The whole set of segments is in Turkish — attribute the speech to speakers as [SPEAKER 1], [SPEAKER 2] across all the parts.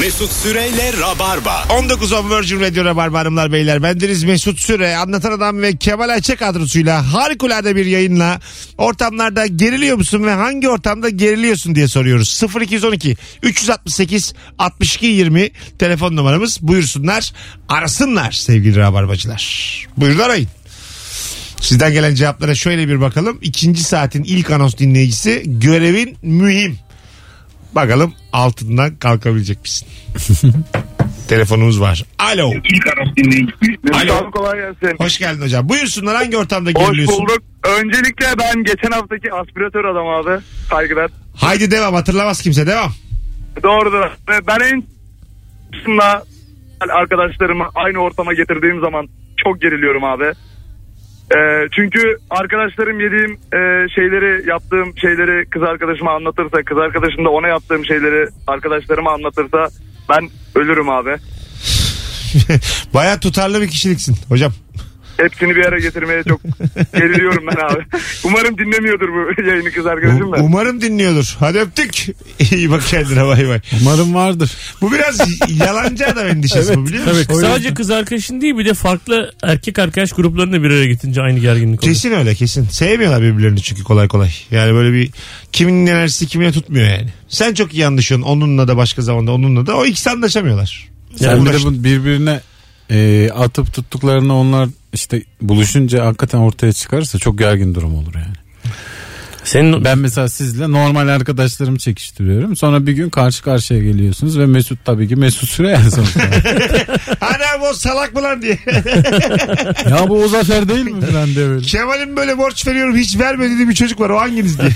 [SPEAKER 1] Mesut Süreyle Rabarba.
[SPEAKER 2] 19 on Virgin Radio Rabarba Hanımlar Beyler. Bendeniz Mesut Süre, Anlatan Adam ve Kemal Ayça kadrosuyla harikulade bir yayınla ortamlarda geriliyor musun ve hangi ortamda geriliyorsun diye soruyoruz. 0212 368 62 20 telefon numaramız. Buyursunlar, arasınlar sevgili Rabarbacılar. Buyurun arayın. Sizden gelen cevaplara şöyle bir bakalım. İkinci saatin ilk anons dinleyicisi görevin mühim. Bakalım altından kalkabilecek misin? Telefonumuz var. Alo. Alo.
[SPEAKER 3] Alo. Kolay gelsin.
[SPEAKER 2] Hoş geldin hocam. Buyursunlar hangi ortamda
[SPEAKER 3] Hoş
[SPEAKER 2] geriliyorsun?
[SPEAKER 3] bulduk. Öncelikle ben geçen haftaki aspiratör adam abi. Saygılar.
[SPEAKER 2] Haydi devam hatırlamaz kimse devam.
[SPEAKER 3] Doğrudur. Ve Ben en kısımda arkadaşlarımı aynı ortama getirdiğim zaman çok geriliyorum abi. Ee, çünkü arkadaşlarım yediğim e, şeyleri yaptığım şeyleri kız arkadaşıma anlatırsa kız arkadaşım da ona yaptığım şeyleri arkadaşlarıma anlatırsa ben ölürüm abi.
[SPEAKER 2] Baya tutarlı bir kişiliksin hocam.
[SPEAKER 3] Hepsini bir araya getirmeye çok geriliyorum ben abi. Umarım dinlemiyordur bu yayını kız arkadaşım da.
[SPEAKER 2] U- umarım dinliyordur. Hadi öptük. İyi bak kendine bay bay.
[SPEAKER 4] Umarım vardır.
[SPEAKER 2] Bu biraz yalancı adam endişesi bu biliyor musun?
[SPEAKER 4] O
[SPEAKER 5] Sadece kız arkadaşın değil bir de farklı erkek arkadaş gruplarını da bir araya getirince aynı gerginlik oluyor.
[SPEAKER 2] Kesin öyle kesin. Sevmiyorlar birbirlerini çünkü kolay kolay. Yani böyle bir kimin enerjisi kimine tutmuyor yani. Sen çok iyi anlaşıyorsun onunla da başka zamanda onunla da. O ikisi anlaşamıyorlar.
[SPEAKER 4] Yani bir de
[SPEAKER 2] Uğraş-
[SPEAKER 4] bu birbirine e, atıp tuttuklarını onlar işte buluşunca hakikaten ortaya çıkarsa çok gergin durum olur yani.
[SPEAKER 5] Senin
[SPEAKER 4] Ben mesela sizle normal arkadaşlarımı çekiştiriyorum. Sonra bir gün karşı karşıya geliyorsunuz ve Mesut tabii ki Mesut Süre yani sonuçta.
[SPEAKER 2] Anam o salak mı lan diye.
[SPEAKER 4] ya bu o zafer değil mi falan diye böyle.
[SPEAKER 2] Kemal'im böyle borç veriyorum hiç vermediği bir çocuk var o hanginiz diye.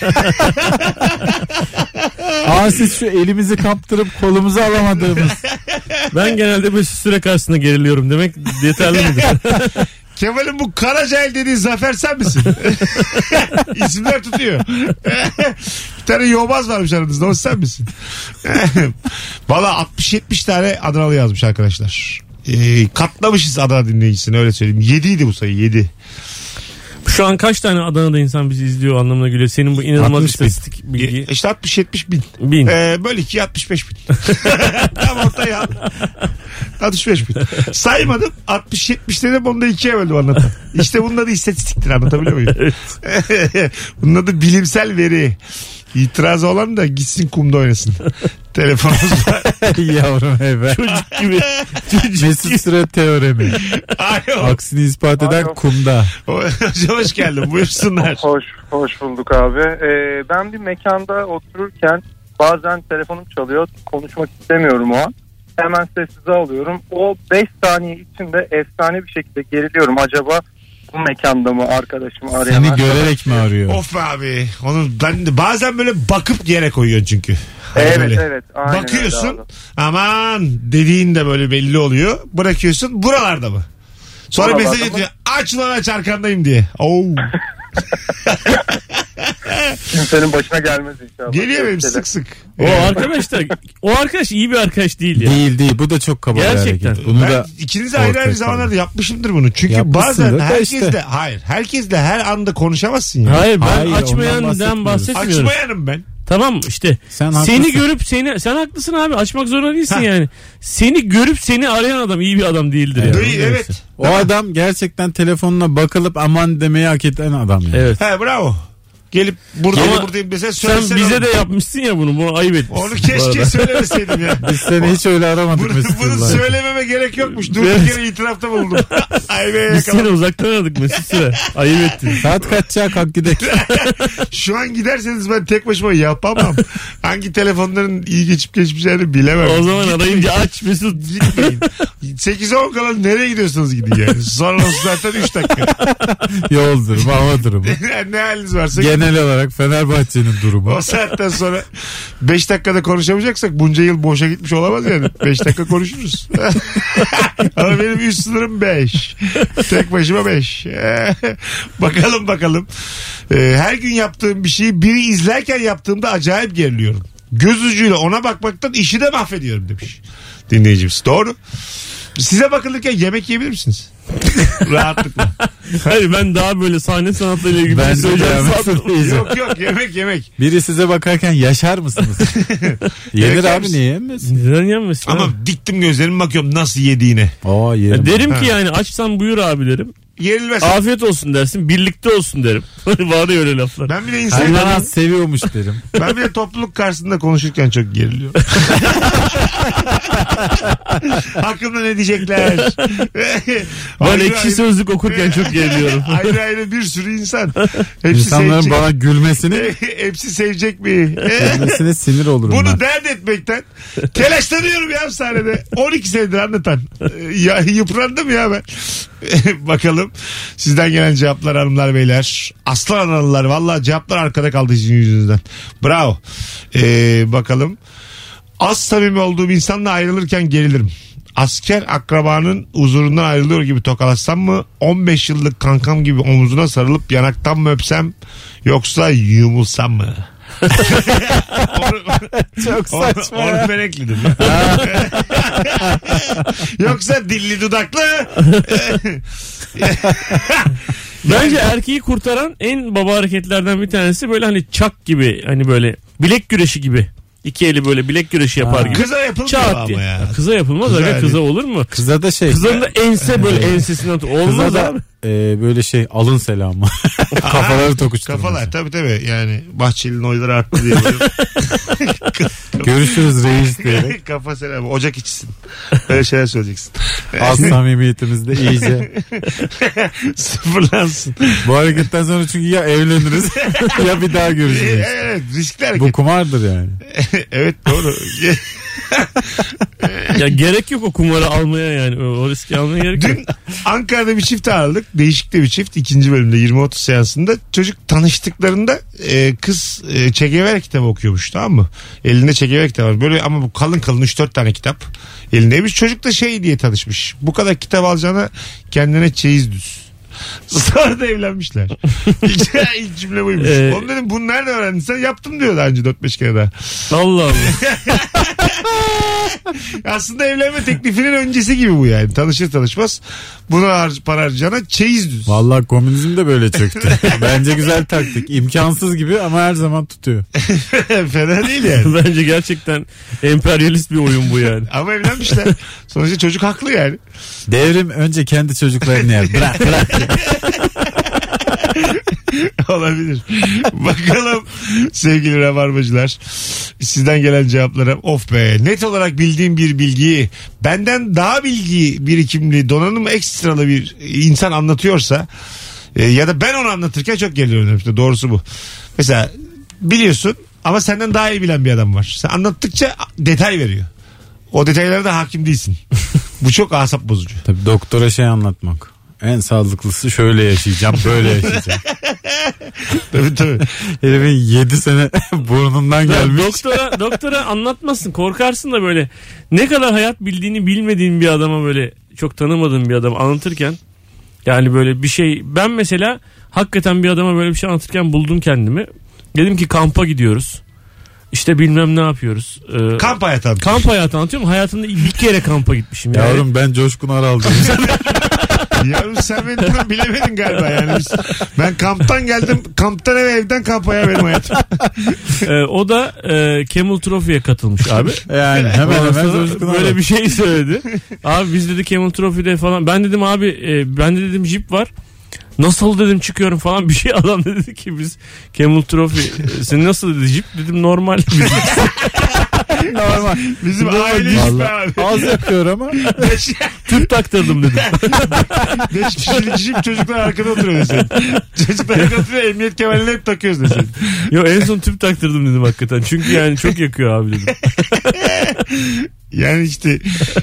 [SPEAKER 4] Aa siz şu elimizi kaptırıp kolumuzu alamadığımız.
[SPEAKER 5] ben genelde bir süre karşısında geriliyorum demek yeterli midir?
[SPEAKER 2] Kemal'in bu Karacahil dediği Zafer sen misin? İsimler tutuyor. bir tane yobaz varmış aranızda o sen misin? Valla 60-70 tane Adanalı yazmış arkadaşlar. Ee, katlamışız Adana dinleyicisini öyle söyleyeyim. 7 idi bu sayı 7.
[SPEAKER 5] Şu an kaç tane Adana'da insan bizi izliyor anlamına geliyor. Senin bu inanılmaz
[SPEAKER 4] 60 bin.
[SPEAKER 5] istatistik bilgi.
[SPEAKER 2] İşte 60-70 bin.
[SPEAKER 5] Bin.
[SPEAKER 2] Ee, böl 2 65 bin. Tam ortaya al. 65 bin. Saymadım 60-70 dedim onu da ikiye böldüm anlatan. İşte bunun adı istatistiktir anlatabiliyor muyum? bunun adı bilimsel veri. İtirazı olan da gitsin kumda oynasın. Telefonumuz var.
[SPEAKER 4] Yavrum eve.
[SPEAKER 5] Çocuk gibi.
[SPEAKER 4] Mesut Süre teoremi.
[SPEAKER 2] Alo.
[SPEAKER 4] Aksini ispat eden
[SPEAKER 6] Alo.
[SPEAKER 4] kumda.
[SPEAKER 2] Hocam hoş geldin buyursunlar.
[SPEAKER 6] Hoş hoş bulduk abi. Ee, ben bir mekanda otururken bazen telefonum çalıyor. Konuşmak istemiyorum o an. Hemen sessize alıyorum. O 5 saniye içinde efsane bir şekilde geriliyorum. Acaba bu mekanda mı arkadaşımı arayan?
[SPEAKER 4] Seni görerek mi arıyor?
[SPEAKER 2] Of abi. Onu ben de bazen böyle bakıp yere koyuyorsun çünkü. Hani
[SPEAKER 6] Evet
[SPEAKER 2] böyle.
[SPEAKER 6] evet. aynen öyle
[SPEAKER 2] Bakıyorsun
[SPEAKER 6] abi.
[SPEAKER 2] aman dediğin de böyle belli oluyor. Bırakıyorsun buralarda mı? Sonra
[SPEAKER 6] Buralarda
[SPEAKER 2] mesaj
[SPEAKER 6] mı?
[SPEAKER 2] atıyor. Aç lan aç arkandayım diye. Oo.
[SPEAKER 6] Kimsenin başına gelmez inşallah.
[SPEAKER 2] Geliyor benim
[SPEAKER 6] Şeyler.
[SPEAKER 2] sık sık.
[SPEAKER 5] O arkadaş da o arkadaş iyi bir arkadaş değil ya.
[SPEAKER 4] Değil değil bu da çok kaba bir
[SPEAKER 5] Gerçekten.
[SPEAKER 4] hareket. Bunu
[SPEAKER 2] ben
[SPEAKER 4] da
[SPEAKER 2] ikiniz de ayrı
[SPEAKER 4] ortaya
[SPEAKER 2] ayrı
[SPEAKER 4] koyalım.
[SPEAKER 2] zamanlarda yapmışımdır bunu. Çünkü
[SPEAKER 4] Yapmışsındır
[SPEAKER 2] bazen
[SPEAKER 4] da
[SPEAKER 2] herkesle
[SPEAKER 4] işte.
[SPEAKER 2] hayır herkesle her anda konuşamazsın ya.
[SPEAKER 5] Hayır ben
[SPEAKER 4] Hayır, ondan
[SPEAKER 5] açmayandan
[SPEAKER 4] bahsetmiyoruz.
[SPEAKER 5] bahsetmiyorum.
[SPEAKER 2] Açmayanım ben.
[SPEAKER 5] Tamam işte.
[SPEAKER 4] Sen
[SPEAKER 5] seni
[SPEAKER 4] haklısın.
[SPEAKER 5] görüp seni sen haklısın abi açmak zorunda değilsin yani. Seni görüp seni arayan adam iyi bir adam değildir yani.
[SPEAKER 2] Duy- evet.
[SPEAKER 4] O adam gerçekten telefonuna bakılıp aman demeyi hak eden adam yani.
[SPEAKER 5] Evet.
[SPEAKER 2] He bravo. Gelip burada
[SPEAKER 5] Ama
[SPEAKER 2] buradayım desen
[SPEAKER 5] Sen
[SPEAKER 2] söylesene.
[SPEAKER 5] bize
[SPEAKER 2] onu.
[SPEAKER 5] de yapmışsın ya bunu. Bunu ayıp etmişsin.
[SPEAKER 2] Onu
[SPEAKER 5] bu arada.
[SPEAKER 2] keşke söylemeseydim ya.
[SPEAKER 4] Biz seni hiç öyle aramadık
[SPEAKER 2] Bunu,
[SPEAKER 4] Mesut
[SPEAKER 2] bunu
[SPEAKER 4] Yıllar.
[SPEAKER 2] söylememe gerek yokmuş. Dur bir
[SPEAKER 5] Evet.
[SPEAKER 2] kere itirafta bulundum. Ay be
[SPEAKER 5] Biz
[SPEAKER 2] yakaladım.
[SPEAKER 5] seni uzaktan aradık Mesut Süre. Ayıp ettin.
[SPEAKER 4] Saat kaçacak hak gidek.
[SPEAKER 2] Şu an giderseniz ben tek başıma yapamam. Hangi telefonların iyi geçip geçmeyeceğini bilemem.
[SPEAKER 5] O zaman arayınca aç Mesut.
[SPEAKER 2] Gitmeyin. 8'e 10 kala nereye gidiyorsunuz gidin yani. Sonra zaten 3 dakika.
[SPEAKER 4] Yol durumu hava durumu.
[SPEAKER 2] ne haliniz varsa gidin.
[SPEAKER 4] Genel olarak Fenerbahçe'nin durumu.
[SPEAKER 2] O saatten sonra 5 dakikada konuşamayacaksak bunca yıl boşa gitmiş olamaz yani. 5 dakika konuşuruz. Ama benim üst sınırım 5. Tek başıma 5. bakalım bakalım. Ee, her gün yaptığım bir şeyi biri izlerken yaptığımda acayip geriliyorum. Göz ucuyla ona bakmaktan işi de mahvediyorum demiş dinleyicimiz. Doğru. Size bakılırken yemek yiyebilir misiniz? Rahatlıkla.
[SPEAKER 5] Hayır ben daha böyle sahne sanatlarıyla ilgili
[SPEAKER 4] Ben
[SPEAKER 5] bir şey
[SPEAKER 4] de
[SPEAKER 5] söyleyeceğim.
[SPEAKER 4] devam
[SPEAKER 5] sandım.
[SPEAKER 4] ettim.
[SPEAKER 2] yok yok yemek yemek.
[SPEAKER 4] Biri size bakarken yaşar mısınız? Yenir
[SPEAKER 2] Yaşar
[SPEAKER 4] abi
[SPEAKER 2] mısın?
[SPEAKER 4] niye yenmesin?
[SPEAKER 5] Neden yenmesin? abi?
[SPEAKER 2] Ama diktim gözlerimi bakıyorum nasıl yediğine.
[SPEAKER 4] Aa yerim.
[SPEAKER 5] Ya derim ki yani açsan buyur abi derim.
[SPEAKER 2] Yenilmez.
[SPEAKER 5] Afiyet olsun dersin. Birlikte olsun derim. Hani Var ya öyle laflar.
[SPEAKER 2] Ben bile insan,
[SPEAKER 4] Hayvanat seviyormuş derim.
[SPEAKER 2] ben bile topluluk karşısında konuşurken çok geriliyorum. Hakkımda ne diyecekler?
[SPEAKER 5] Ben
[SPEAKER 2] Ayrı
[SPEAKER 5] ekşi
[SPEAKER 2] ayrı-
[SPEAKER 5] sözlük okurken çok geriliyorum.
[SPEAKER 2] ayrı ayrı bir sürü insan. Hepsi
[SPEAKER 4] İnsanların
[SPEAKER 2] sevecek.
[SPEAKER 4] bana gülmesini
[SPEAKER 2] Hepsi sevecek mi?
[SPEAKER 4] gülmesine sinir olurum
[SPEAKER 2] Bunu
[SPEAKER 4] ben.
[SPEAKER 2] dert etmekten telaşlanıyorum ya sahnede. 12 senedir anlatan. Ee, Ya, yıprandım ya ben. Bakalım sizden gelen cevaplar hanımlar beyler. Aslan analılar valla cevaplar arkada kaldı sizin yüzünüzden. Bravo. Ee, bakalım. Az samimi olduğum insanla ayrılırken gerilirim. Asker akrabanın huzurundan ayrılıyor gibi tokalaşsam mı? 15 yıllık kankam gibi omuzuna sarılıp yanaktan mı öpsem yoksa yumulsam mı? Onu-
[SPEAKER 4] Çok
[SPEAKER 2] Or- Orhan Ekli'dir. Yoksa dilli dudaklı.
[SPEAKER 5] Bence erkeği kurtaran en baba hareketlerden bir tanesi böyle hani çak gibi hani böyle bilek güreşi gibi. İki eli böyle bilek güreşi yapar gibi.
[SPEAKER 2] Kıza yapılmıyor
[SPEAKER 5] Çat
[SPEAKER 2] ama
[SPEAKER 5] diye.
[SPEAKER 2] ya.
[SPEAKER 5] Kıza yapılmaz
[SPEAKER 2] Kıza
[SPEAKER 5] aga,
[SPEAKER 2] hani-
[SPEAKER 5] kıza olur mu?
[SPEAKER 4] Kıza da şey.
[SPEAKER 5] Kızın da ense böyle ensesine atıyor.
[SPEAKER 4] Kıza
[SPEAKER 5] Olmaz
[SPEAKER 4] da
[SPEAKER 5] abi.
[SPEAKER 4] e, böyle şey alın selamı. Kafaları tokuşturması.
[SPEAKER 2] Kafalar tabii tabii yani Bahçeli'nin oyları arttı diye. böyle
[SPEAKER 4] Görüşürüz reis diyerek.
[SPEAKER 2] Kafa selam ocak içsin. Öyle şeyler söyleyeceksin.
[SPEAKER 4] Az samimiyetimizde iyice.
[SPEAKER 2] Sıfırlansın.
[SPEAKER 4] Bu hareketten sonra çünkü ya evleniriz ya bir daha görüşürüz.
[SPEAKER 2] evet riskli hareket.
[SPEAKER 4] Bu kumardır yani.
[SPEAKER 2] evet doğru.
[SPEAKER 5] Ya gerek yok o kumarı almaya yani. O, o riski almaya gerek yok.
[SPEAKER 2] Dün Ankara'da bir çift ağırladık. Değişik de bir çift. ikinci bölümde 20-30 seansında çocuk tanıştıklarında e, kız e, çekever kitabı okuyormuş tamam mı? Elinde çekever kitabı var. Böyle ama bu kalın kalın 3-4 tane kitap elindeymiş. Çocuk da şey diye tanışmış. Bu kadar kitap alacağına kendine çeyiz düz. Sonra da evlenmişler. İlk, ilk cümle buymuş.
[SPEAKER 5] Ee,
[SPEAKER 2] Oğlum dedim bunu nereden öğrendin sen? Yaptım diyor daha önce 4-5 kere daha.
[SPEAKER 5] Allah Allah.
[SPEAKER 2] Aslında evlenme teklifinin öncesi gibi bu yani. Tanışır tanışmaz buna har- para harcayacağına çeyiz düz.
[SPEAKER 4] Vallahi komünizm de böyle çöktü. Bence güzel taktik. İmkansız gibi ama her zaman tutuyor.
[SPEAKER 2] Fena değil yani.
[SPEAKER 5] Bence gerçekten emperyalist bir oyun bu yani.
[SPEAKER 2] Ama evlenmişler. Sonuçta çocuk haklı yani.
[SPEAKER 4] Devrim önce kendi çocuklarını yer. Bırak bırak.
[SPEAKER 2] Olabilir. Bakalım sevgili rabarbacılar. Sizden gelen cevaplara of be net olarak bildiğim bir bilgiyi benden daha bilgi birikimli donanım ekstralı bir insan anlatıyorsa e, ya da ben onu anlatırken çok geliyorum işte doğrusu bu. Mesela biliyorsun ama senden daha iyi bilen bir adam var. Sen anlattıkça detay veriyor. O detaylara da hakim değilsin. bu çok asap bozucu.
[SPEAKER 4] Tabii doktora şey anlatmak. En sağlıklısı şöyle yaşayacağım, böyle yaşayacağım.
[SPEAKER 2] Tabii tabii.
[SPEAKER 4] Herifin 7 sene burnundan
[SPEAKER 5] Ya
[SPEAKER 4] gelmiş.
[SPEAKER 5] doktora doktora anlatmasın korkarsın da böyle ne kadar hayat bildiğini bilmediğin bir adama böyle çok tanımadığın bir adam anlatırken yani böyle bir şey ben mesela hakikaten bir adama böyle bir şey anlatırken buldum kendimi dedim ki kampa gidiyoruz işte bilmem ne yapıyoruz Ee,
[SPEAKER 2] Kamp hayatı abi.
[SPEAKER 5] kamp hayatı anlatıyorum hayatımda bir kere kampa gitmişim yani.
[SPEAKER 4] Yavrum ben Coşkun Aral diyorum.
[SPEAKER 2] Yavrum sen beni tam bilemedin galiba yani. Biz- ben kamptan geldim. Kamptan eve evden kampaya benim hayatım.
[SPEAKER 5] Ee, o da e, Camel Trophy'ye katılmış abi
[SPEAKER 4] yani hemen
[SPEAKER 5] Ondan
[SPEAKER 4] hemen
[SPEAKER 5] sonra
[SPEAKER 4] Coşkun Aral.
[SPEAKER 5] böyle bir şey söyledi. abi biz dedi Camel Trophy'de falan. Ben dedim abi e, ben de dedim Jeep var. Nasıl dedim çıkıyorum falan bir şey adam dedi ki biz Camel Trophy e, senin nasıl dedi Jeep dedim normal.
[SPEAKER 4] normal.
[SPEAKER 2] Bizim aile işte abi.
[SPEAKER 4] Vallahi az yapıyor ama.
[SPEAKER 2] Beş,
[SPEAKER 5] Tüp taktırdım dedim.
[SPEAKER 2] beş kişilik jip çocuklar arkada oturuyor desin. Çocuklar arkada oturuyor emniyet kemerini hep takıyoruz desin.
[SPEAKER 5] Yo en son tüp taktırdım dedim hakikaten. Çünkü yani çok yakıyor abi dedim.
[SPEAKER 2] Yani işte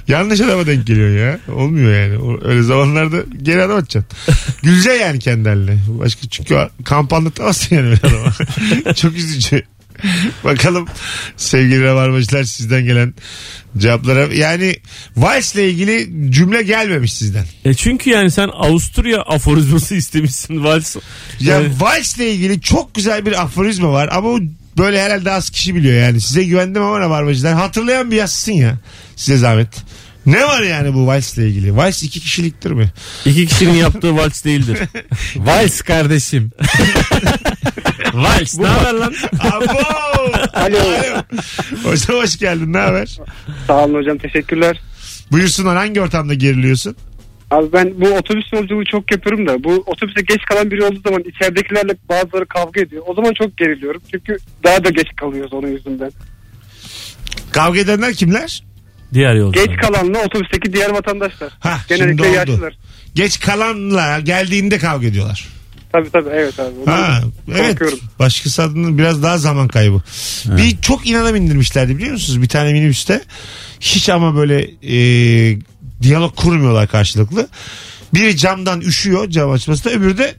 [SPEAKER 2] yanlış adama denk geliyor ya. Olmuyor yani. O- Öyle zamanlarda geri adam atacaksın. Güleceksin yani kendi haline. Başka çünkü kamp anlatamazsın yani öyle adama. Çok üzücü. Bakalım sevgili rabarbacılar sizden gelen cevaplara. Yani Vals'le ilgili cümle gelmemiş sizden.
[SPEAKER 5] E çünkü yani sen Avusturya aforizması istemişsin vals.
[SPEAKER 2] Ya
[SPEAKER 5] Evet.
[SPEAKER 2] Vals'le ilgili çok güzel bir aforizma var ama o böyle herhalde az kişi biliyor yani. Size güvendim ama rabarbacılar. Hatırlayan bir yazsın ya. Size zahmet. Ne var yani bu Vals ile ilgili? Vals iki kişiliktir mi?
[SPEAKER 5] İki kişinin yaptığı vals değildir.
[SPEAKER 4] Vals kardeşim.
[SPEAKER 5] vals. ne haber lan?
[SPEAKER 2] Abo!
[SPEAKER 7] Alo.
[SPEAKER 2] Hocam hoş geldin. Ne haber?
[SPEAKER 7] Sağ olun hocam teşekkürler.
[SPEAKER 2] Buyursunlar hangi ortamda geriliyorsun?
[SPEAKER 7] Abi ben bu otobüs yolculuğu çok yapıyorum da bu otobüse geç kalan biri olduğu zaman içeridekilerle bazıları kavga ediyor. O zaman çok geriliyorum çünkü daha da geç kalıyoruz onun yüzünden.
[SPEAKER 2] Kavga edenler kimler?
[SPEAKER 5] Diğer yolda.
[SPEAKER 7] Geç kalanla otobüsteki diğer vatandaşlar.
[SPEAKER 2] Ha,
[SPEAKER 7] Genellikle
[SPEAKER 2] şimdi oldu.
[SPEAKER 7] yaşlılar.
[SPEAKER 2] Geç kalanla geldiğinde kavga ediyorlar.
[SPEAKER 7] Tabii tabii evet abi. Ondan
[SPEAKER 2] Ha, evet.
[SPEAKER 7] korkuyorum.
[SPEAKER 2] Başkası adına biraz daha zaman kaybı. Bir çok inana bindirmişlerdi biliyor musunuz? Bir tane minibüste. Hiç ama böyle e, diyalog kurmuyorlar karşılıklı. Biri camdan üşüyor cam açmasına öbürü de